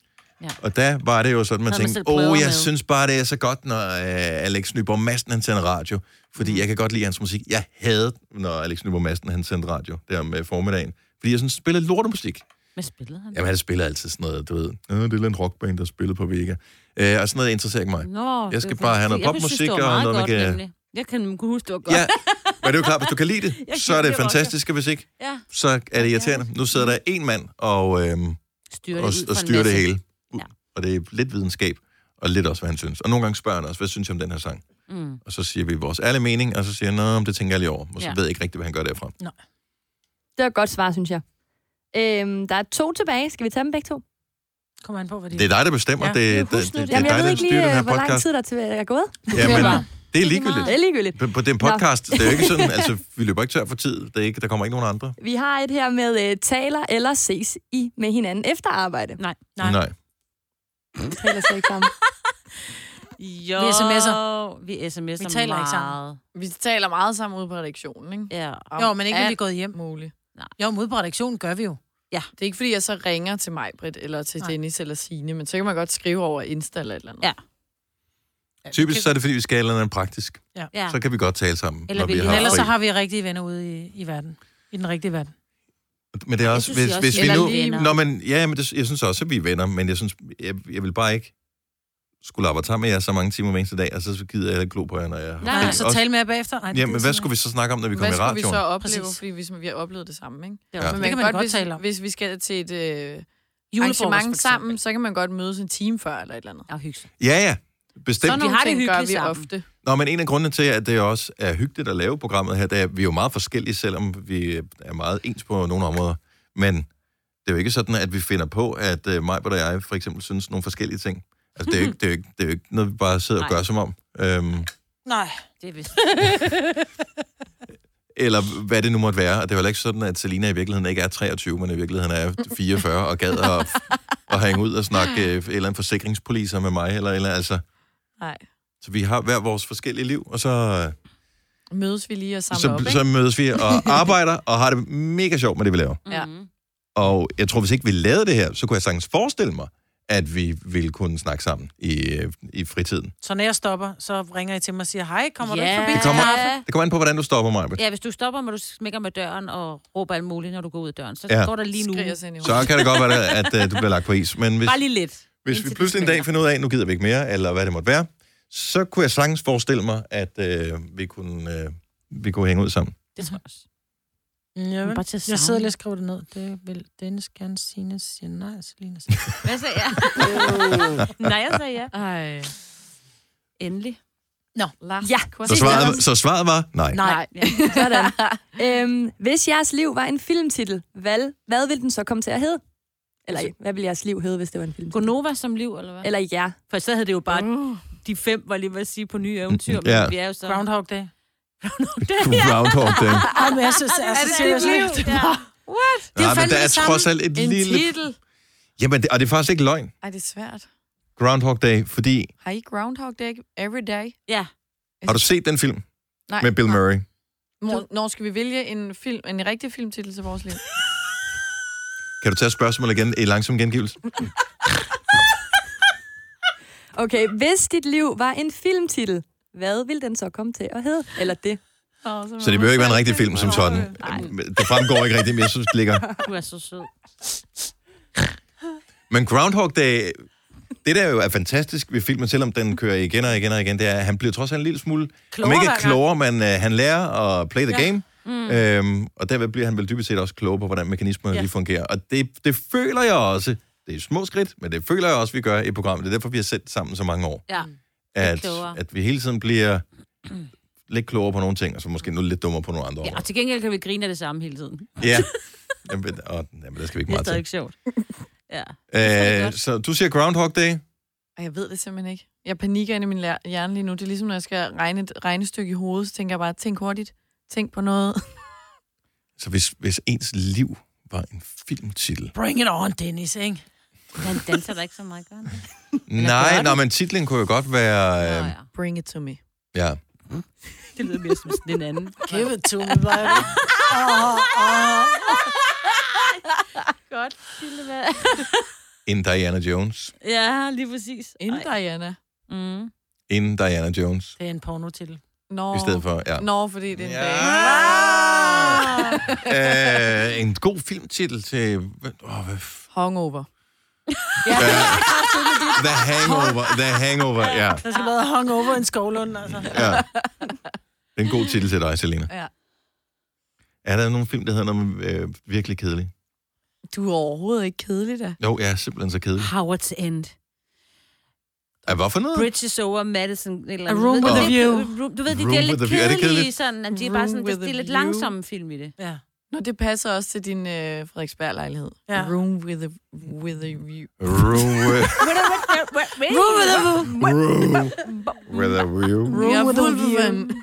Speaker 1: Og der var det jo sådan, man
Speaker 2: Mm. Når man
Speaker 1: tænkte,
Speaker 2: selv
Speaker 1: åh,
Speaker 2: prøver
Speaker 1: oh, jeg
Speaker 2: med."
Speaker 1: synes bare, det er så godt, når øh, Alex Nyborg Madsen, han sender radio. Fordi
Speaker 2: Mm.
Speaker 1: jeg kan godt lide hans musik. Jeg havde, når Alex Nyborg Madsen, han sendte radio der om øh, formiddagen. Fordi jeg sådan spillede lortemusik.
Speaker 2: Hvad spillede han?
Speaker 1: Jamen, han spiller altid sådan noget, du ved. Øh, det er en rockband, der spiller på Vega. Øh, og sådan noget interesserer ikke mig.
Speaker 2: Nå,
Speaker 1: Jeg skal
Speaker 2: det-
Speaker 1: bare have noget
Speaker 2: Jeg synes,
Speaker 1: popmusik
Speaker 2: det var
Speaker 1: og
Speaker 2: meget
Speaker 1: noget, man
Speaker 2: godt,
Speaker 1: kan-
Speaker 2: nemlig. Jeg kan kunne huske, det var godt.
Speaker 1: Ja, men det er jo klart, hvis du kan lide
Speaker 2: Jeg
Speaker 1: det, så er det
Speaker 2: kan lide
Speaker 1: fantastisk, og hvis ikke,
Speaker 2: ja.
Speaker 1: så er det irriterende. Nu sidder der en mand og, øhm,
Speaker 2: Styrer
Speaker 1: og,
Speaker 2: det ud
Speaker 1: og
Speaker 2: fra en
Speaker 1: styrer det
Speaker 2: masse.
Speaker 1: hele.
Speaker 2: Ja.
Speaker 1: Og det er lidt videnskab, og lidt også, hvad han synes. Og nogle gange spørger han også, hvad synes jeg om den her sang?
Speaker 2: Mm.
Speaker 1: Og så siger vi vores ærlige mening, og så siger han, "Nå, men det tænker jeg lige over. Og så
Speaker 2: Ja.
Speaker 1: ved jeg ikke rigtigt, hvad han gør derfra.
Speaker 5: Det var et godt svar, synes jeg. Øhm, der er to tilbage. Skal vi tage dem begge to?
Speaker 3: Kommer an på, hvad det
Speaker 1: Det er dig, der bestemmer.
Speaker 3: Ja.
Speaker 1: det,
Speaker 2: Men
Speaker 1: det,
Speaker 2: husk
Speaker 1: det,
Speaker 2: nu
Speaker 1: det,
Speaker 2: det.
Speaker 1: det er
Speaker 5: Jamen, jeg
Speaker 1: dig,
Speaker 5: ved
Speaker 1: der
Speaker 5: ikke lige,
Speaker 1: styrer den her
Speaker 5: øh, hvor lang
Speaker 1: podcast.
Speaker 5: tid der er til- er gået.
Speaker 1: Jamen,
Speaker 4: bare.
Speaker 1: det er
Speaker 4: lige
Speaker 1: ligegyldigt.
Speaker 5: Det er ligegyldigt.
Speaker 1: På, på den podcast, det er jo ikke sådan, altså, vi løber ikke tør for tid. Det er ikke, der kommer ikke nogen andre.
Speaker 5: Vi har et her med øh, taler eller ses i med hinanden efter arbejde.
Speaker 2: Nej.
Speaker 3: Nej.
Speaker 1: Nej.
Speaker 5: Vi taler slet ikke sammen.
Speaker 2: Jo.
Speaker 3: Vi sms'er.
Speaker 2: Vi sms'er
Speaker 3: Vi taler
Speaker 2: meget.
Speaker 3: ikke sammen.
Speaker 4: Vi taler meget sammen ude på redaktionen, ikke?
Speaker 2: Ja.
Speaker 4: Om
Speaker 3: Jo, men ikke, når vi
Speaker 4: alt
Speaker 3: er gået hjem.
Speaker 4: muligt.
Speaker 3: Jo, mod på redaktionen gør vi jo.
Speaker 4: Det er ikke, fordi jeg så ringer til mig, Britt, eller til
Speaker 3: Nej.
Speaker 4: Dennis eller Signe, men så kan man godt skrive over Insta eller et eller andet.
Speaker 2: Ja.
Speaker 1: Typisk så er det, fordi vi skal et eller andet praktisk.
Speaker 2: ja.
Speaker 1: Så kan vi godt tale sammen,
Speaker 2: Eller
Speaker 1: når vi
Speaker 2: vi-
Speaker 1: har
Speaker 3: Ellers
Speaker 1: fri.
Speaker 3: så har vi rigtige venner ude i, i verden. I den rigtige verden.
Speaker 1: Men det er også,
Speaker 2: synes,
Speaker 1: hvis,
Speaker 2: I også
Speaker 1: hvis vi
Speaker 4: Eller
Speaker 1: nu...
Speaker 4: lige-
Speaker 1: Nå, men, ja, men det, jeg synes også, at vi er venner, men jeg, synes, jeg, jeg vil bare ikke skulle arbejde sammen med jer så mange timer hver eneste dag, og så gider jeg heller ikke glo på jer, når jeg har
Speaker 3: Nej,
Speaker 1: fri.
Speaker 3: nej, så
Speaker 1: Også-
Speaker 3: tale altså, med jer bagefter. Nej, det
Speaker 1: Jamen,
Speaker 3: gider
Speaker 1: hvad
Speaker 3: jeg
Speaker 1: skulle vi så snakke om, når vi
Speaker 4: Hvad
Speaker 1: kommer i
Speaker 4: skulle vi så
Speaker 1: radioen?
Speaker 4: opleve,
Speaker 3: Præcis.
Speaker 4: fordi vi, vi har oplevet det samme, ikke?
Speaker 2: Det
Speaker 1: Ja.
Speaker 2: var-
Speaker 4: Men
Speaker 3: Det kan man
Speaker 4: kan
Speaker 3: godt
Speaker 4: hvis,
Speaker 3: tale om.
Speaker 4: Hvis vi skal til et, øh, arrangement sammen, så kan man godt mødes en time før eller et eller andet.
Speaker 2: Og hygge sig.
Speaker 1: Ja, ja.
Speaker 4: Sådan
Speaker 1: Bestemt.
Speaker 4: nogle
Speaker 2: har det
Speaker 4: ting gør vi
Speaker 2: hyggeligt sammen.
Speaker 4: ofte.
Speaker 1: Nå, men en af grundene til, at det også er hyggeligt at lave programmet her, det er, at vi er jo meget forskellige, selvom vi er meget ens på nogle områder. Men det er jo ikke sådan, at vi finder på, at uh, mig og jeg for eksempel synes nogle forskellige ting. Altså, det er jo ikke, det er jo ikke, det er jo ikke noget, vi bare sidder og
Speaker 2: Nej.
Speaker 1: gør som om. Øhm,
Speaker 3: Nej.
Speaker 2: Det er vist.
Speaker 1: eller hvad det nu måtte være. Og det er jo heller ikke sådan, at Selina i virkeligheden ikke er 23, men i virkeligheden er 44 og gad at, at hænge ud og snakke øh, en eller en forsikringspoliser med mig. Eller, eller, altså.
Speaker 4: Nej.
Speaker 1: Så vi har hver vores forskellige liv, og så, øh,
Speaker 4: Mødes vi lige og samler op,
Speaker 1: så,
Speaker 4: ikke?
Speaker 1: så mødes vi og arbejder og har det mega sjovt med det, vi laver.
Speaker 4: Ja.
Speaker 2: Mhm.
Speaker 1: Og jeg tror, hvis ikke vi lavede det her, så kunne jeg sagtens forestille mig, at vi ville kunne snakke sammen i, øh, i fritiden.
Speaker 3: Så når jeg stopper, så ringer I til mig og siger, hej, kommer du
Speaker 2: Ja.
Speaker 3: ikke forbi?
Speaker 1: Det
Speaker 3: til
Speaker 1: kommer-
Speaker 3: kaffe?"
Speaker 1: Det kommer an på, hvordan du stopper mig.
Speaker 2: Ja, hvis du stopper, må du smækker med døren og råber alt muligt, når du går ud af døren. Så
Speaker 1: Ja.
Speaker 2: går der lige nu.
Speaker 4: Skriger os ind i
Speaker 1: Så kan det godt være, at øh, du bliver lagt på is. Men hvis,
Speaker 2: Bare lige lidt.
Speaker 1: Hvis vi
Speaker 2: Indtil det
Speaker 1: pludselig en dag finder ud af, at nu gider vi ikke mere, eller hvad det måtte være, så kunne jeg sagtens forestille mig, at øh, vi, kunne, øh, vi kunne hænge ud sammen.
Speaker 2: Det tror jeg også.
Speaker 3: Jamen,
Speaker 2: Bare til at
Speaker 3: jeg sidder
Speaker 2: savne.
Speaker 3: lige og skriver det ned. Det vil Dennis gerne sige, siger nej, Selina siger.
Speaker 2: Hvad sagde jeg? Nej, jeg sagde ja.
Speaker 4: Ej.
Speaker 2: Endelig.
Speaker 4: Lars,
Speaker 5: Ja.
Speaker 4: Kors-
Speaker 1: Så
Speaker 5: Det kan
Speaker 1: svaret, så svaret var nej.
Speaker 3: Nej.
Speaker 2: Ja.
Speaker 5: Sådan. øhm, hvis jeres liv var en filmtitel, hvad, hvad ville den så komme til at hedde? Eller hvad ville jeres liv hedde, hvis det var en filmtitel?
Speaker 2: Gonova som liv, eller hvad?
Speaker 5: Eller ja.
Speaker 2: For så havde det jo bare
Speaker 4: Uh.
Speaker 2: de fem, var lige ved at sige, på nye eventyr.
Speaker 1: Ja.
Speaker 2: Men vi er jo så...
Speaker 3: Groundhog Day.
Speaker 1: Groundhog Day.
Speaker 3: Ej, men jeg synes, det er, så seriøst.
Speaker 2: liv? Ja.
Speaker 3: Det er
Speaker 1: Nej, men
Speaker 3: fandme
Speaker 1: der er
Speaker 3: det samme.
Speaker 1: trods alt et
Speaker 4: En
Speaker 1: lille...
Speaker 4: titel.
Speaker 1: Jamen, det, og det er faktisk ikke løgn,
Speaker 4: Ej, det er svært.
Speaker 1: Groundhog Day, fordi...
Speaker 4: Har I Groundhog Day every day?
Speaker 2: ja.
Speaker 1: Har du set den film
Speaker 4: Nej.
Speaker 1: med Bill Murray?
Speaker 4: Mor, når skal vi vælge en, film, en rigtig filmtitel til vores liv?
Speaker 1: Kan du tage spørgsmålet igen i langsom gengivelse?
Speaker 5: Okay, hvis dit liv var en filmtitel, hvad ville den så komme til at hedde? Eller det?
Speaker 1: Så det behøver ikke være en rigtig film som sådan.
Speaker 2: Nej.
Speaker 1: Det fremgår ikke rigtigt, men jeg synes, det ligger...
Speaker 2: Du er så sød.
Speaker 1: Men Groundhog Day, det der jo er fantastisk ved filmen, selvom den kører igen og igen og igen, det er, at han bliver trods alt en lille smule...
Speaker 3: Klogere
Speaker 1: om ikke
Speaker 3: hver gang.
Speaker 1: klogere, men øh, han lærer at play the ja. game. Mm. Øhm, og derved bliver han vel dybest set også klogere på, hvordan mekanismerne ja. lige fungerer. Og det, det føler jeg også, det er små skridt, men det føler jeg også, vi gør i programmet. Det er derfor, vi har sendt sammen så mange år.
Speaker 2: Ja.
Speaker 1: At,
Speaker 2: klogere.
Speaker 1: at vi hele tiden bliver lidt klogere på nogle ting, og så måske nu lidt dummere på nogle andre
Speaker 2: ja.
Speaker 1: områder.
Speaker 2: Og til gengæld kan vi grine af det samme hele tiden.
Speaker 1: Ja. Jamen, og, jamen, der skal vi ikke
Speaker 2: Det er
Speaker 1: meget til.
Speaker 2: stadig sjovt. Ja.
Speaker 1: Øh,
Speaker 2: godt.
Speaker 1: så du siger Groundhog Day.
Speaker 4: Og jeg ved det simpelthen ikke. Jeg panikker inde i min lær- hjerne lige nu. Det er ligesom, når jeg skal regne et regnestykke i hovedet, så tænker jeg bare, tænk hurtigt. Tænk på noget.
Speaker 1: Så hvis, hvis ens liv var en filmtitel?
Speaker 3: Bring it on, Dennis, ikke?
Speaker 2: Han danser da ikke så meget, gør han det?
Speaker 1: Nej, nej, men titlen kunne jo godt være...
Speaker 2: Nå,
Speaker 1: Øh,
Speaker 2: ja.
Speaker 4: Bring it to me.
Speaker 1: ja.
Speaker 2: Det lyder mere som sådan en anden.
Speaker 3: Give it to me, baby.
Speaker 2: Godt, Sildevær.
Speaker 1: En Diana Jones.
Speaker 2: Ja, lige præcis.
Speaker 4: In Diana.
Speaker 2: Mm.
Speaker 1: En Diana Jones.
Speaker 3: Det er en pornotitel.
Speaker 4: Nå.
Speaker 1: I stedet for, ja.
Speaker 4: Nå, fordi det er en
Speaker 1: Ja. Ah!
Speaker 4: dag.
Speaker 1: Øh, en god filmtitel til... Åh, hvad, f-
Speaker 4: Hungover.
Speaker 1: The Hangover. The Hangover, ja.
Speaker 3: Der skal være hungover en skovlund, altså.
Speaker 1: ja. Det er en god titel til dig, Selina.
Speaker 4: Ja.
Speaker 1: Er der nogen film, der hedder noget med, øh, virkelig kedelig?
Speaker 4: Du er overhovedet ikke kedelig, da.
Speaker 1: Jo, jeg er simpelthen så kedelig.
Speaker 2: Howard's End.
Speaker 4: Mm.
Speaker 1: Er hvorfor noget?
Speaker 2: Bridges over Madison. et Eller
Speaker 3: A Room
Speaker 2: Du ved,
Speaker 1: with a
Speaker 2: det-
Speaker 3: View.
Speaker 2: Room- Du ved, det,
Speaker 1: Room
Speaker 2: det er
Speaker 1: with
Speaker 2: lidt
Speaker 1: a View. Er det
Speaker 2: kedelige,
Speaker 1: kedeligt?
Speaker 2: sådan, at de er
Speaker 4: Room
Speaker 2: bare sådan, det
Speaker 4: with a
Speaker 2: det er lidt
Speaker 4: View.
Speaker 2: langsomme film i det.
Speaker 3: Ja.
Speaker 4: Nå, det passer også til din øh, Frederiksberg-lejlighed.
Speaker 3: Ja.
Speaker 4: Ja. Room with a, with a view.
Speaker 1: Room with,
Speaker 2: Room with a
Speaker 1: room with a view.
Speaker 4: Room
Speaker 3: with a
Speaker 4: Wolverine.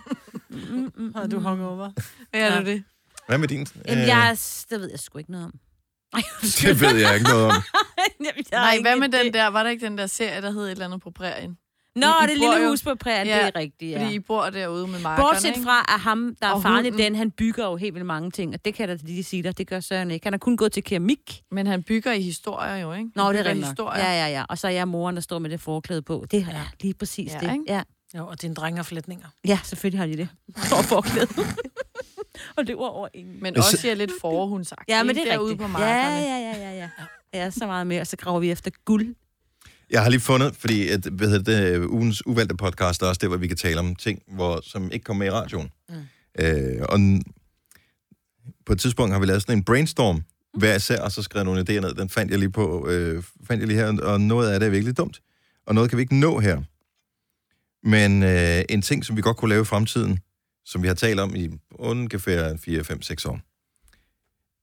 Speaker 2: Mm,
Speaker 3: Og du er hungover.
Speaker 4: Ja, det er det.
Speaker 1: Hvad med din?
Speaker 2: Jamen,
Speaker 1: Øh,
Speaker 2: jeg, er- det ved jeg sgu ikke noget om. Ej, undskyld.
Speaker 1: Det ved jeg ikke noget om.
Speaker 2: Jamen, jeg har
Speaker 4: Nej,
Speaker 2: ikke
Speaker 4: hvad med
Speaker 2: idé.
Speaker 4: den der? Var der ikke den der serie, der hed et eller andet på prærien?
Speaker 2: Nå,
Speaker 4: I- I
Speaker 2: det
Speaker 4: bor
Speaker 2: lille
Speaker 4: jo-
Speaker 2: hus på prærien,
Speaker 4: Ja,
Speaker 2: det er rigtigt, ja.
Speaker 4: Fordi I bor derude med markerne,
Speaker 2: Bortset
Speaker 4: ikke?
Speaker 2: fra, at ham, der er
Speaker 4: Og
Speaker 2: farlig,
Speaker 4: hunden.
Speaker 2: den, han bygger jo helt vildt mange ting, og det kan jeg da lige sige dig, det gør Søren ikke. Han har kun gået til keramik.
Speaker 4: Men han bygger i historier jo, ikke?
Speaker 2: Nå,
Speaker 4: han
Speaker 2: det er
Speaker 4: bygger
Speaker 2: rigtigt nok.
Speaker 4: historier.
Speaker 2: Ja, ja, ja. Og så er jeg moren, der står med det forklæde på. Det er ja. lige præcis
Speaker 4: Ja,
Speaker 2: det.
Speaker 4: ikke?
Speaker 2: Ja.
Speaker 3: Jo, og dine drenge har flætninger.
Speaker 2: ja, selvfølgelig har de det. For forklæde. og det var over ingen.
Speaker 4: Men
Speaker 1: Men så-
Speaker 4: også jeg er lidt forhundsagtig.
Speaker 2: Ja, men det er
Speaker 4: derude
Speaker 2: rigtigt.
Speaker 4: på
Speaker 2: ja,
Speaker 4: markerne.
Speaker 2: ja, ja, ja, ja. Ja, så meget mere. Og så graver vi efter guld.
Speaker 1: Jeg har lige fundet, fordi at, hvad hedder det, ugens uvalgte podcast er også det, hvor vi kan tale om ting, hvor, som ikke kommer med i radioen. Mm. Øh, og n- på et tidspunkt har vi lavet sådan en brainstorm, hver især, og så skrevet nogle idéer ned. Den fandt jeg lige på, øh, fandt jeg lige her, og noget af det er virkelig dumt. Og noget kan vi ikke nå her. Men øh, en ting, som vi godt kunne lave i fremtiden, som vi har talt om i ungefær 4, 5, 6 år,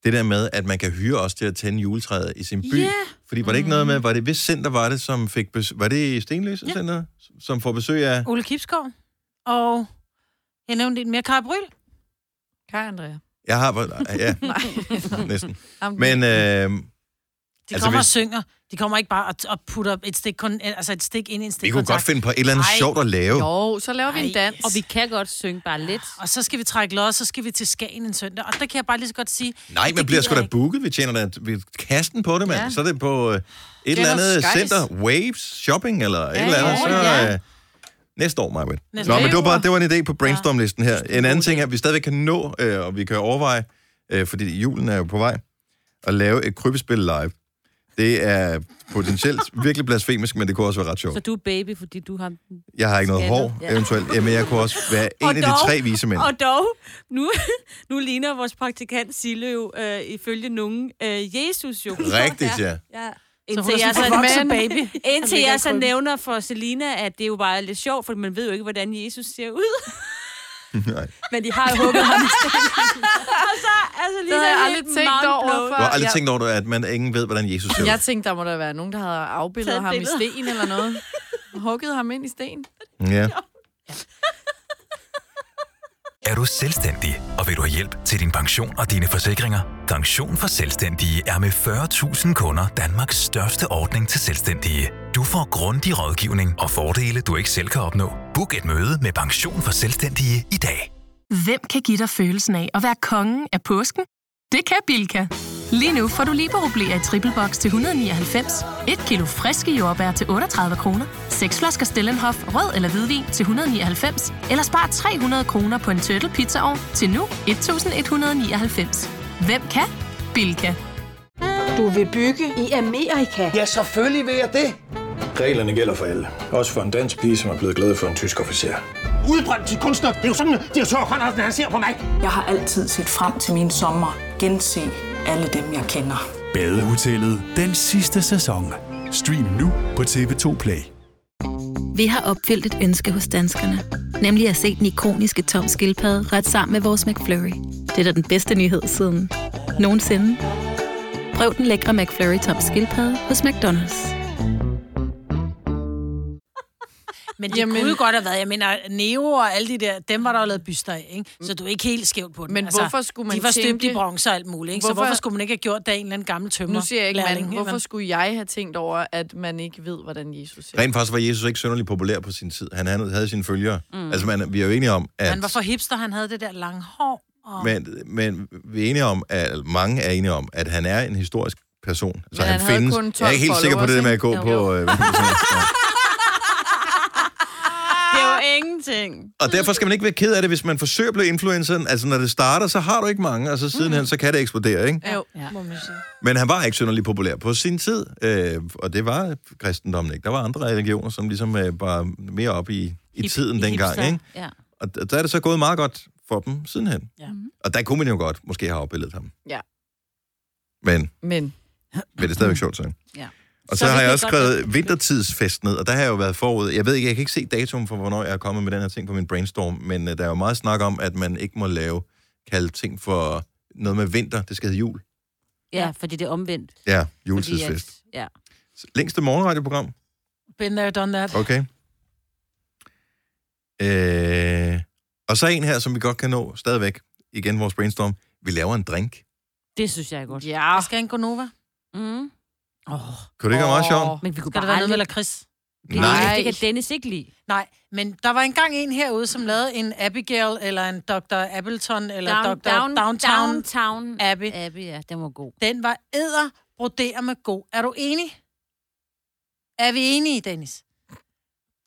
Speaker 1: det der med, at man kan hyre os til at tænde juletræet i sin by.
Speaker 2: Ja.
Speaker 1: Fordi var det ikke noget med, var det hvis center var det, som fik besøg, var det Stenløse
Speaker 3: Ja.
Speaker 1: ja. Center, som får besøg af?
Speaker 3: Ole Kipskov. Og jeg nævnte en mere, Kaja Bryl.
Speaker 4: Kaj Andrea.
Speaker 1: Jeg har, ja,
Speaker 4: Nej.
Speaker 1: næsten.
Speaker 4: Jamen,
Speaker 1: Men øh,
Speaker 3: De
Speaker 1: Altså, hvis-
Speaker 3: kommer og synger. De kommer ikke bare og, og putter et stik, kun, altså et stik ind i en stik.
Speaker 1: vi kunne godt finde på et eller andet
Speaker 3: Ej.
Speaker 1: sjovt at lave.
Speaker 4: Jo, så laver vi en dans.
Speaker 2: Og vi kan godt synge bare lidt.
Speaker 3: Og så skal vi trække lod, og så skal vi til Skagen en søndag. Og der kan jeg bare lige så godt sige...
Speaker 1: Nej, man bliver
Speaker 3: det gider
Speaker 1: sgu da
Speaker 3: jeg
Speaker 1: booket. Vi tjener da vi kasten på det, mand. Ja.
Speaker 4: Ja.
Speaker 1: Så er det på øh, et eller andet
Speaker 4: Skies.
Speaker 1: center. Waves Shopping eller et eller andet.
Speaker 2: ja,
Speaker 1: Så,
Speaker 2: ja.
Speaker 1: øh, næste år, Maja.
Speaker 3: Næste
Speaker 1: Nå,
Speaker 3: år.
Speaker 1: men det var, bare, det var en idé på brainstorm-listen her. En anden ting er, at vi stadigvæk kan nå, øh, og vi kan overveje, øh, fordi julen er jo på vej, at lave et krybespil live. Det er potentielt virkelig blasfemisk, men det kunne også være ret
Speaker 2: Så
Speaker 1: sjovt.
Speaker 2: du er baby, fordi du har...
Speaker 1: Jeg har ikke noget
Speaker 2: Skaldet,
Speaker 1: hår,
Speaker 2: ja.
Speaker 1: eventuelt. Jamen, jeg kunne også være en
Speaker 2: Og
Speaker 1: af de
Speaker 2: dog-
Speaker 1: tre vise mænd.
Speaker 2: Og dog, nu, nu ligner vores praktikant Sille jo øh, ifølge nogen øh, Jesus jo.
Speaker 1: Rigtigt, ja.
Speaker 5: Ja.
Speaker 3: Så
Speaker 2: Indtil
Speaker 3: hun er
Speaker 2: jeg så,
Speaker 3: sådan en
Speaker 2: men,
Speaker 3: voksen baby.
Speaker 2: indtil
Speaker 5: ligger i
Speaker 2: jeg så
Speaker 5: krybben.
Speaker 2: nævner for Selina, at det jo bare er lidt sjovt, for man ved jo ikke, hvordan Jesus ser ud.
Speaker 1: Nej.
Speaker 5: Men de har jo hugget ham.
Speaker 2: Altså,
Speaker 4: det havde jeg aldrig tænkt over
Speaker 1: Du har
Speaker 4: før.
Speaker 1: aldrig
Speaker 4: Jeg,
Speaker 1: tænkt over, at man ingen ved, hvordan Jesus ser ud.
Speaker 4: jeg tænkte, der må der være nogen, der havde afbildet
Speaker 2: Taget
Speaker 4: ham i
Speaker 2: billeder.
Speaker 4: sten eller noget. Hugget ham ind i sten.
Speaker 1: Ja.
Speaker 6: Er du selvstændig, og vil du have hjælp til din pension og dine forsikringer? Pension for Selvstændige er med 40.000 kunder Danmarks største ordning til selvstændige. Du får grundig rådgivning og fordele, du ikke selv kan opnå. Book et møde med Pension for Selvstændige i dag.
Speaker 7: Hvem kan give dig følelsen af at være kongen af påsken? Det kan Bilka! Lige nu får du liberobleer i triple box til 199, et kilo friske jordbær til 38 kroner, seks flasker Stellenhof rød eller hvidvin til 199, eller spar 300 kroner på en turtle pizzaovn til nu 1199. Hvem kan? Bilka.
Speaker 8: Du vil bygge i Amerika?
Speaker 9: Ja, selvfølgelig vil jeg det.
Speaker 10: Reglerne gælder for alle. Også for en dansk pige, som er blevet glad for en tysk officer.
Speaker 9: Udbrændt til kunstner. Det er jo sådan, at de har tørt, han ser på mig.
Speaker 8: Jeg har altid set frem til min sommer. Gense alle dem, jeg kender.
Speaker 11: Badehotellet den sidste sæson. Stream nu på TV2 Play.
Speaker 7: Vi har opfyldt et ønske hos danskerne. Nemlig at se den ikoniske tom skildpadde ret sammen med vores McFlurry. Det er da den bedste nyhed siden nogensinde. Prøv den lækre McFlurry tom skildpadde hos McDonald's.
Speaker 3: Men det Jamen.
Speaker 4: Jamen.
Speaker 3: kunne jo godt have været, jeg mener, Neo og alle de der, dem var der jo lavet byster af, ikke? Så du er ikke helt skævt på den. Altså,
Speaker 4: Men hvorfor skulle man
Speaker 3: De var støbt i
Speaker 4: tænke-
Speaker 3: bronze og alt muligt, ikke? Så
Speaker 4: Hvorfor-
Speaker 3: hvorfor skulle man ikke have gjort det af en eller anden gammel tømmer?
Speaker 4: Nu siger jeg ikke, man, hvorfor skulle jeg have tænkt over, at man ikke ved, hvordan Jesus ser?
Speaker 1: Rent faktisk var Jesus ikke synderligt populær på sin tid. Han havde havde sine følgere. Mm. Altså, man, vi er jo enige om, at...
Speaker 3: Han var for hipster, han havde det der lange hår. Og... Men...
Speaker 1: men, men vi er enige om, at eller mange er enige om, at han er en historisk person. Så
Speaker 4: Men
Speaker 1: han,
Speaker 4: han havde
Speaker 1: findes.
Speaker 4: kun
Speaker 1: jeg er
Speaker 4: 12
Speaker 1: ikke helt sikker på det der med at gå
Speaker 4: followers,
Speaker 1: på...
Speaker 4: ikke?
Speaker 1: Øh, hvad kan man sige? Ja.
Speaker 2: Det er jo ingenting.
Speaker 1: og derfor skal man ikke være ked af det, hvis man forsøger at blive influenceren. Altså, når det starter, så har du ikke mange, og så
Speaker 4: Mm.
Speaker 1: sidenhen, så kan det eksplodere, ikke?
Speaker 4: Jo,
Speaker 2: Ja.
Speaker 4: må man sige.
Speaker 1: Men han var ikke synderligt populær på sin tid, øh, og det var kristendommen ikke. Der var andre religioner, som ligesom øh, var mere op i, i tiden dengang, ikke?
Speaker 2: Ja.
Speaker 1: Og d- der er det så gået meget godt for dem sidenhen. Ja.
Speaker 2: Mhm.
Speaker 1: Og der kunne man jo godt måske have opbildet ham.
Speaker 4: Ja.
Speaker 1: Men,
Speaker 4: Men
Speaker 1: men det er stadigvæk sjovt, så.
Speaker 2: Mhm. Ja.
Speaker 1: Og så,
Speaker 2: Så
Speaker 1: så har
Speaker 2: vi
Speaker 1: jeg
Speaker 2: kan
Speaker 1: også
Speaker 2: godt-
Speaker 1: skrevet vintertidsfest ned, og der har jeg jo været forud. Jeg ved ikke, jeg kan ikke se datoen for, hvornår jeg er kommet med den her ting på min brainstorm, men øh, der er jo meget snak om, at man ikke må lave, kalde ting for noget med vinter. Det skal hedde jul.
Speaker 2: ja, fordi det er omvendt.
Speaker 1: Ja,
Speaker 2: Fordi
Speaker 1: juletidsfest.
Speaker 2: at, ja.
Speaker 1: Længste morgenradioprogram?
Speaker 3: Been there, done that.
Speaker 1: Okay. Øh, og så en her, som vi godt kan nå stadigvæk. Igen vores brainstorm. Vi laver en drink.
Speaker 2: Det synes jeg er godt.
Speaker 4: ja.
Speaker 3: Jeg skal have en Gonova.
Speaker 2: Mm. Oh,
Speaker 1: Kunne det ikke være meget sjovt?
Speaker 4: Åh.
Speaker 2: men vi kunne
Speaker 3: Skal der
Speaker 2: bare
Speaker 3: være noget med
Speaker 2: aldrig...
Speaker 3: lakrids?
Speaker 1: Nej.
Speaker 2: Nej. Det kan Dennis ikke lide.
Speaker 3: Nej, men der var engang en herude, som lavede en Abigail, eller en Dr. Appleton, eller Down, Dr. Down, Downtown. Down.
Speaker 2: Downtown
Speaker 3: Abbey.
Speaker 2: Abbey, ja, den var god.
Speaker 3: Den var æder, broder med god. Er du enig? Er vi enige, Dennis?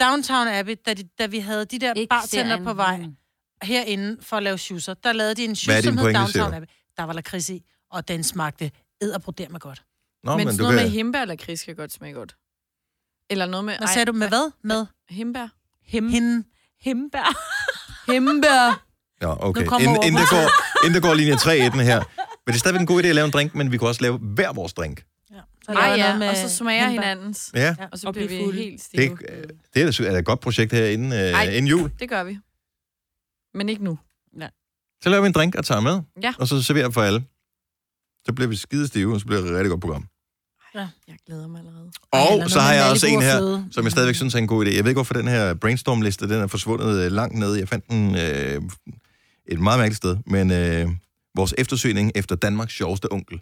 Speaker 3: Downtown Abbey, da, de, da vi havde de der
Speaker 2: Ikke
Speaker 3: bartender
Speaker 2: serien.
Speaker 3: på vej
Speaker 2: Mm.
Speaker 3: herinde for at lave shoeser, der lavede de en
Speaker 1: Hvad er
Speaker 3: shoes,
Speaker 1: din
Speaker 3: som hed
Speaker 1: pointe,
Speaker 3: Downtown
Speaker 1: siger du?
Speaker 3: Abbey. Der var lakrids i, og den smagte æder, broder med godt.
Speaker 1: Nå,
Speaker 4: Men,
Speaker 1: men,
Speaker 4: sådan
Speaker 1: du
Speaker 4: noget med
Speaker 1: kan...
Speaker 4: himbær eller kris kan godt smage godt. Eller noget med...
Speaker 3: Hvad sagde du? Med hvad? Med
Speaker 4: Himbær.
Speaker 2: Him,
Speaker 3: hende.
Speaker 2: himbær.
Speaker 4: Himbær.
Speaker 1: Ja, okay.
Speaker 3: Nu kommer
Speaker 1: Inden,
Speaker 3: over.
Speaker 1: inden, der går, inden der går linje 3 i den her. Men det er stadigvæk en god idé at lave en drink, men vi kunne også lave hver vores drink.
Speaker 4: Ej
Speaker 3: laver noget
Speaker 4: ja,
Speaker 3: med
Speaker 4: og så smager
Speaker 3: hindbær.
Speaker 4: hinandens.
Speaker 1: Ja.
Speaker 4: Og så bliver vi helt stive.
Speaker 1: Det, øh, det er da sy- er da et godt projekt her inden, øh, inden jul.
Speaker 4: det gør vi. Men ikke nu. Nej.
Speaker 1: Så laver vi en drink og tager med,
Speaker 4: Ja.
Speaker 1: og så serverer for alle. Så bliver vi skide stive, og så bliver det et rigtig godt program.
Speaker 4: Ja. Jeg glæder mig allerede.
Speaker 1: Og
Speaker 4: Ej,
Speaker 1: så har
Speaker 4: når
Speaker 1: jeg
Speaker 4: man
Speaker 1: også
Speaker 4: er lidt
Speaker 1: en her,
Speaker 4: ordfløde.
Speaker 1: som jeg stadigvæk synes er en god idé. Jeg ved ikke, hvorfor den her brainstorm-liste, den er forsvundet øh, langt ned. Jeg fandt den øh, et meget mærkeligt sted, men øh, vores eftersøgning efter Danmarks sjoveste onkel.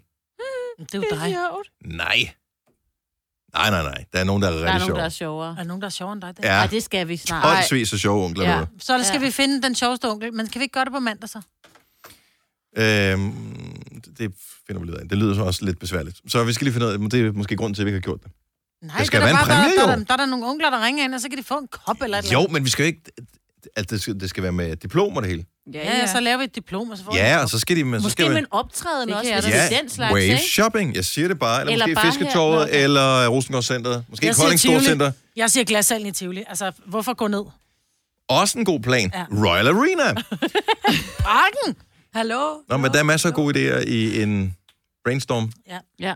Speaker 3: Det er jo dig.
Speaker 1: Nej. Nej, nej, nej. Der er nogen, der er
Speaker 3: Der er
Speaker 1: rigtig
Speaker 3: nogen,
Speaker 1: sjove.
Speaker 3: der
Speaker 2: er sjovere. Er
Speaker 3: der nogen, der er sjovere end dig?
Speaker 1: Ja. Ej,
Speaker 3: det skal vi snart.
Speaker 1: Håndsvis så sjove onkler. Ja.
Speaker 3: Så skal ja. vi finde den sjoveste onkel. Men kan vi ikke gøre det på mandag så?
Speaker 1: Øhm, det finder vi lidt af. Det lyder så også lidt besværligt. Så vi skal lige finde ud af, det er måske grund til, at vi ikke har gjort det.
Speaker 3: Nej,
Speaker 1: Der skal
Speaker 3: det er
Speaker 1: være en
Speaker 3: bare-
Speaker 1: præmie,
Speaker 3: der,
Speaker 1: jo.
Speaker 3: der, der, der, er der nogle onkler, der ringer ind, og så kan de få en kop eller et
Speaker 1: Jo,
Speaker 3: eller
Speaker 1: men vi skal jo ikke... At det, skal, det skal være med diplom og det hele.
Speaker 3: andet. Ja, ja, så laver vi et diplom, og så får de en
Speaker 1: Ja,
Speaker 3: kop.
Speaker 1: og så skal de... Men, så
Speaker 2: Måske
Speaker 1: skal
Speaker 2: med
Speaker 1: man-
Speaker 2: en optræden
Speaker 3: Det
Speaker 2: også,
Speaker 3: kan
Speaker 2: hvis det
Speaker 3: jeg da
Speaker 2: er
Speaker 3: sige.
Speaker 2: den slags,
Speaker 1: wave
Speaker 2: ikke?
Speaker 1: shopping. Jeg siger det bare. Eller,
Speaker 2: Eller
Speaker 1: eller måske
Speaker 2: bare
Speaker 1: Fisketorvet,
Speaker 2: her.
Speaker 1: eller øh, Rosengård Centeret. Måske
Speaker 3: Jeg siger
Speaker 1: Kolding
Speaker 3: Tivoli.
Speaker 1: Storcenter.
Speaker 3: Jeg siger glassalen i Tivoli. Altså, hvorfor gå ned?
Speaker 1: Også en god plan.
Speaker 3: Ja.
Speaker 1: Ja. Royal Arena.
Speaker 3: Parken! Hallo?
Speaker 1: Nå, men der er masser af gode idéer i en brainstorm.
Speaker 3: Ja.
Speaker 2: ja.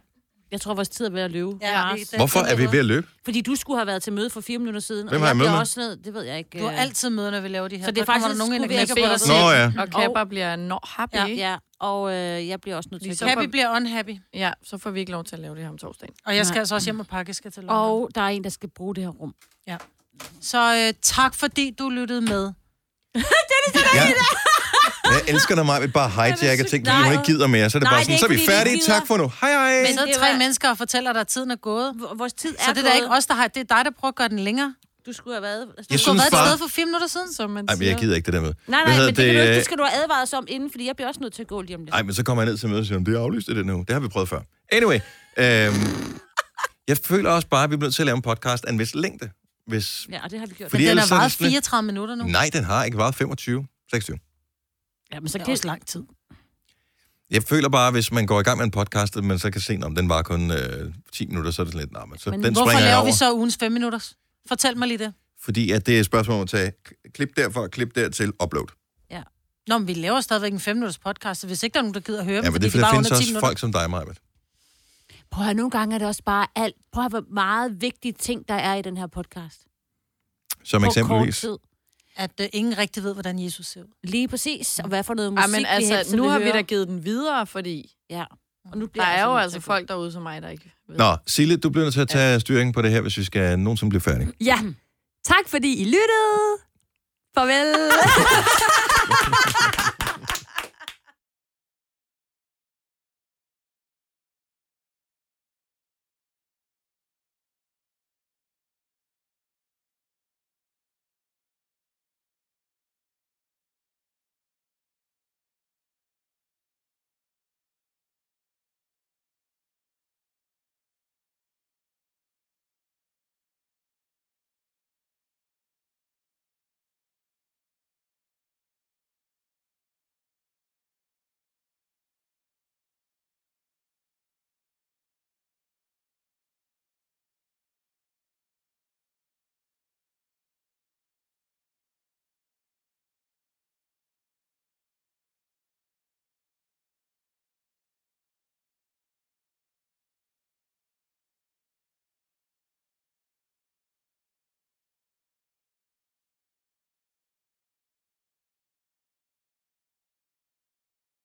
Speaker 2: Jeg tror, vores tid er ved at løbe.
Speaker 3: Ja,
Speaker 1: Hvorfor er vi ved at løbe?
Speaker 2: Fordi du skulle have været til møde for fire minutter siden.
Speaker 1: Hvem
Speaker 2: og
Speaker 1: har jeg møde
Speaker 2: bliver
Speaker 1: med?
Speaker 2: Også ned, det ved jeg ikke.
Speaker 3: Du har
Speaker 2: øh.
Speaker 3: altid møder, når vi laver de her.
Speaker 2: Så det er
Speaker 3: Der kommer
Speaker 2: faktisk
Speaker 3: der nogen ind
Speaker 2: skulle
Speaker 3: og knækker
Speaker 2: være
Speaker 3: på dig.
Speaker 2: bedre. Nå, ja.
Speaker 4: Og Kappa bliver nå happy,
Speaker 2: Ja,
Speaker 4: ikke?
Speaker 2: ja. og øh, jeg bliver også nødt til
Speaker 4: Fordi
Speaker 2: at
Speaker 4: så
Speaker 2: gå.
Speaker 4: får-
Speaker 3: bliver unhappy.
Speaker 4: Ja, så får vi ikke lov til at lave det her om torsdagen.
Speaker 3: Og jeg skal
Speaker 4: Nej.
Speaker 3: altså også hjem og pakke, jeg skal til London.
Speaker 2: Og der er en, der skal bruge det her rum.
Speaker 3: Ja. Så øh, tak, fordi du lyttede med.
Speaker 1: Jeg elsker, når mig bare hijacker ting, fordi hun
Speaker 3: Nej.
Speaker 1: ikke gider mere. Så er det
Speaker 3: Nej,
Speaker 1: bare
Speaker 3: det
Speaker 1: sådan,
Speaker 3: er
Speaker 1: så er vi
Speaker 3: ikke, fordi de
Speaker 1: færdige.
Speaker 3: gider.
Speaker 1: Tak for nu. Hej, hej.
Speaker 3: Men så tre var... mennesker og fortæller dig, at tiden er gået.
Speaker 2: Vores tid
Speaker 3: Så
Speaker 2: er
Speaker 3: det er da
Speaker 2: gået.
Speaker 3: ikke os, der har... Det er dig, der prøver at gøre den længere.
Speaker 2: Du skulle have været...
Speaker 3: Du skulle
Speaker 1: synes
Speaker 3: have været et
Speaker 1: bare-
Speaker 3: sted for fire minutter siden, som man
Speaker 1: Ej, men jeg gider ikke det der med.
Speaker 2: Nej,
Speaker 1: Hvad
Speaker 2: nej,
Speaker 1: hedder
Speaker 2: men det, det, kan du, ikke.
Speaker 1: øh,
Speaker 2: det skal du have advaret os om inden, fordi jeg bliver også nødt til at gå lige om lidt.
Speaker 1: Ej, men så kommer jeg ned til mødet og siger, det er aflyst i den uge. Det har vi prøvet før. Anyway, øhm, jeg føler også bare, at vi bliver nødt til at lave en podcast af en vis længde. Hvis...
Speaker 2: Ja, og det har vi gjort.
Speaker 1: Fordi
Speaker 3: Men den
Speaker 1: ellers
Speaker 3: har
Speaker 1: er det
Speaker 3: varet
Speaker 1: sådan lidt-
Speaker 3: 34 minutter nu.
Speaker 1: Nej, den har ikke varet 25, 26.
Speaker 2: Ja, men så
Speaker 3: det
Speaker 2: kan-
Speaker 3: er også lang tid.
Speaker 1: Jeg føler bare, hvis man går i gang med en podcast, at man så kan se, om den var kun øh, 10 minutter, så er det sådan lidt, nej, men så
Speaker 3: Men
Speaker 1: den
Speaker 3: hvorfor
Speaker 1: springer jeg
Speaker 3: laver
Speaker 1: over.
Speaker 3: vi så ugens 5 minutter? Fortæl mig lige det.
Speaker 1: Fordi at det er et spørgsmål om at tage k- klip derfra, klip dertil, upload.
Speaker 3: Ja. Nå, men vi laver stadigvæk en 5 minutters podcast, så hvis ikke der er nogen, der gider at høre
Speaker 1: Ja,
Speaker 3: dem,
Speaker 1: men det er,
Speaker 3: fordi
Speaker 1: fordi der
Speaker 3: de bare er
Speaker 1: findes
Speaker 3: under 10
Speaker 1: også
Speaker 3: minutter.
Speaker 1: folk som dig, Majbet.
Speaker 2: Prøv at høre, nogle gange er det også bare alt. Prøv at høre, hvor meget vigtige ting, der er i den her podcast.
Speaker 1: Som
Speaker 2: På
Speaker 1: eksempelvis.
Speaker 2: kort tid.
Speaker 3: At øh, ingen rigtig ved, hvordan Jesus ser ud.
Speaker 2: Lige præcis. Og hvad for noget
Speaker 4: Ej,
Speaker 2: musik,
Speaker 4: men
Speaker 2: vi helst
Speaker 4: altså, nu
Speaker 2: vil
Speaker 4: har vi
Speaker 2: høre.
Speaker 4: da givet den videre, fordi...
Speaker 2: Ja. Og nu
Speaker 4: der
Speaker 2: bliver jeg
Speaker 4: er
Speaker 2: altså
Speaker 4: jo
Speaker 2: nødt
Speaker 4: altså folk derude som mig, der ikke ved.
Speaker 1: Nå, Sille, du bliver nødt til at tage styringen på det her, hvis vi skal nogensinde blive færdige.
Speaker 5: Ja. Tak fordi I lyttede. Farvel.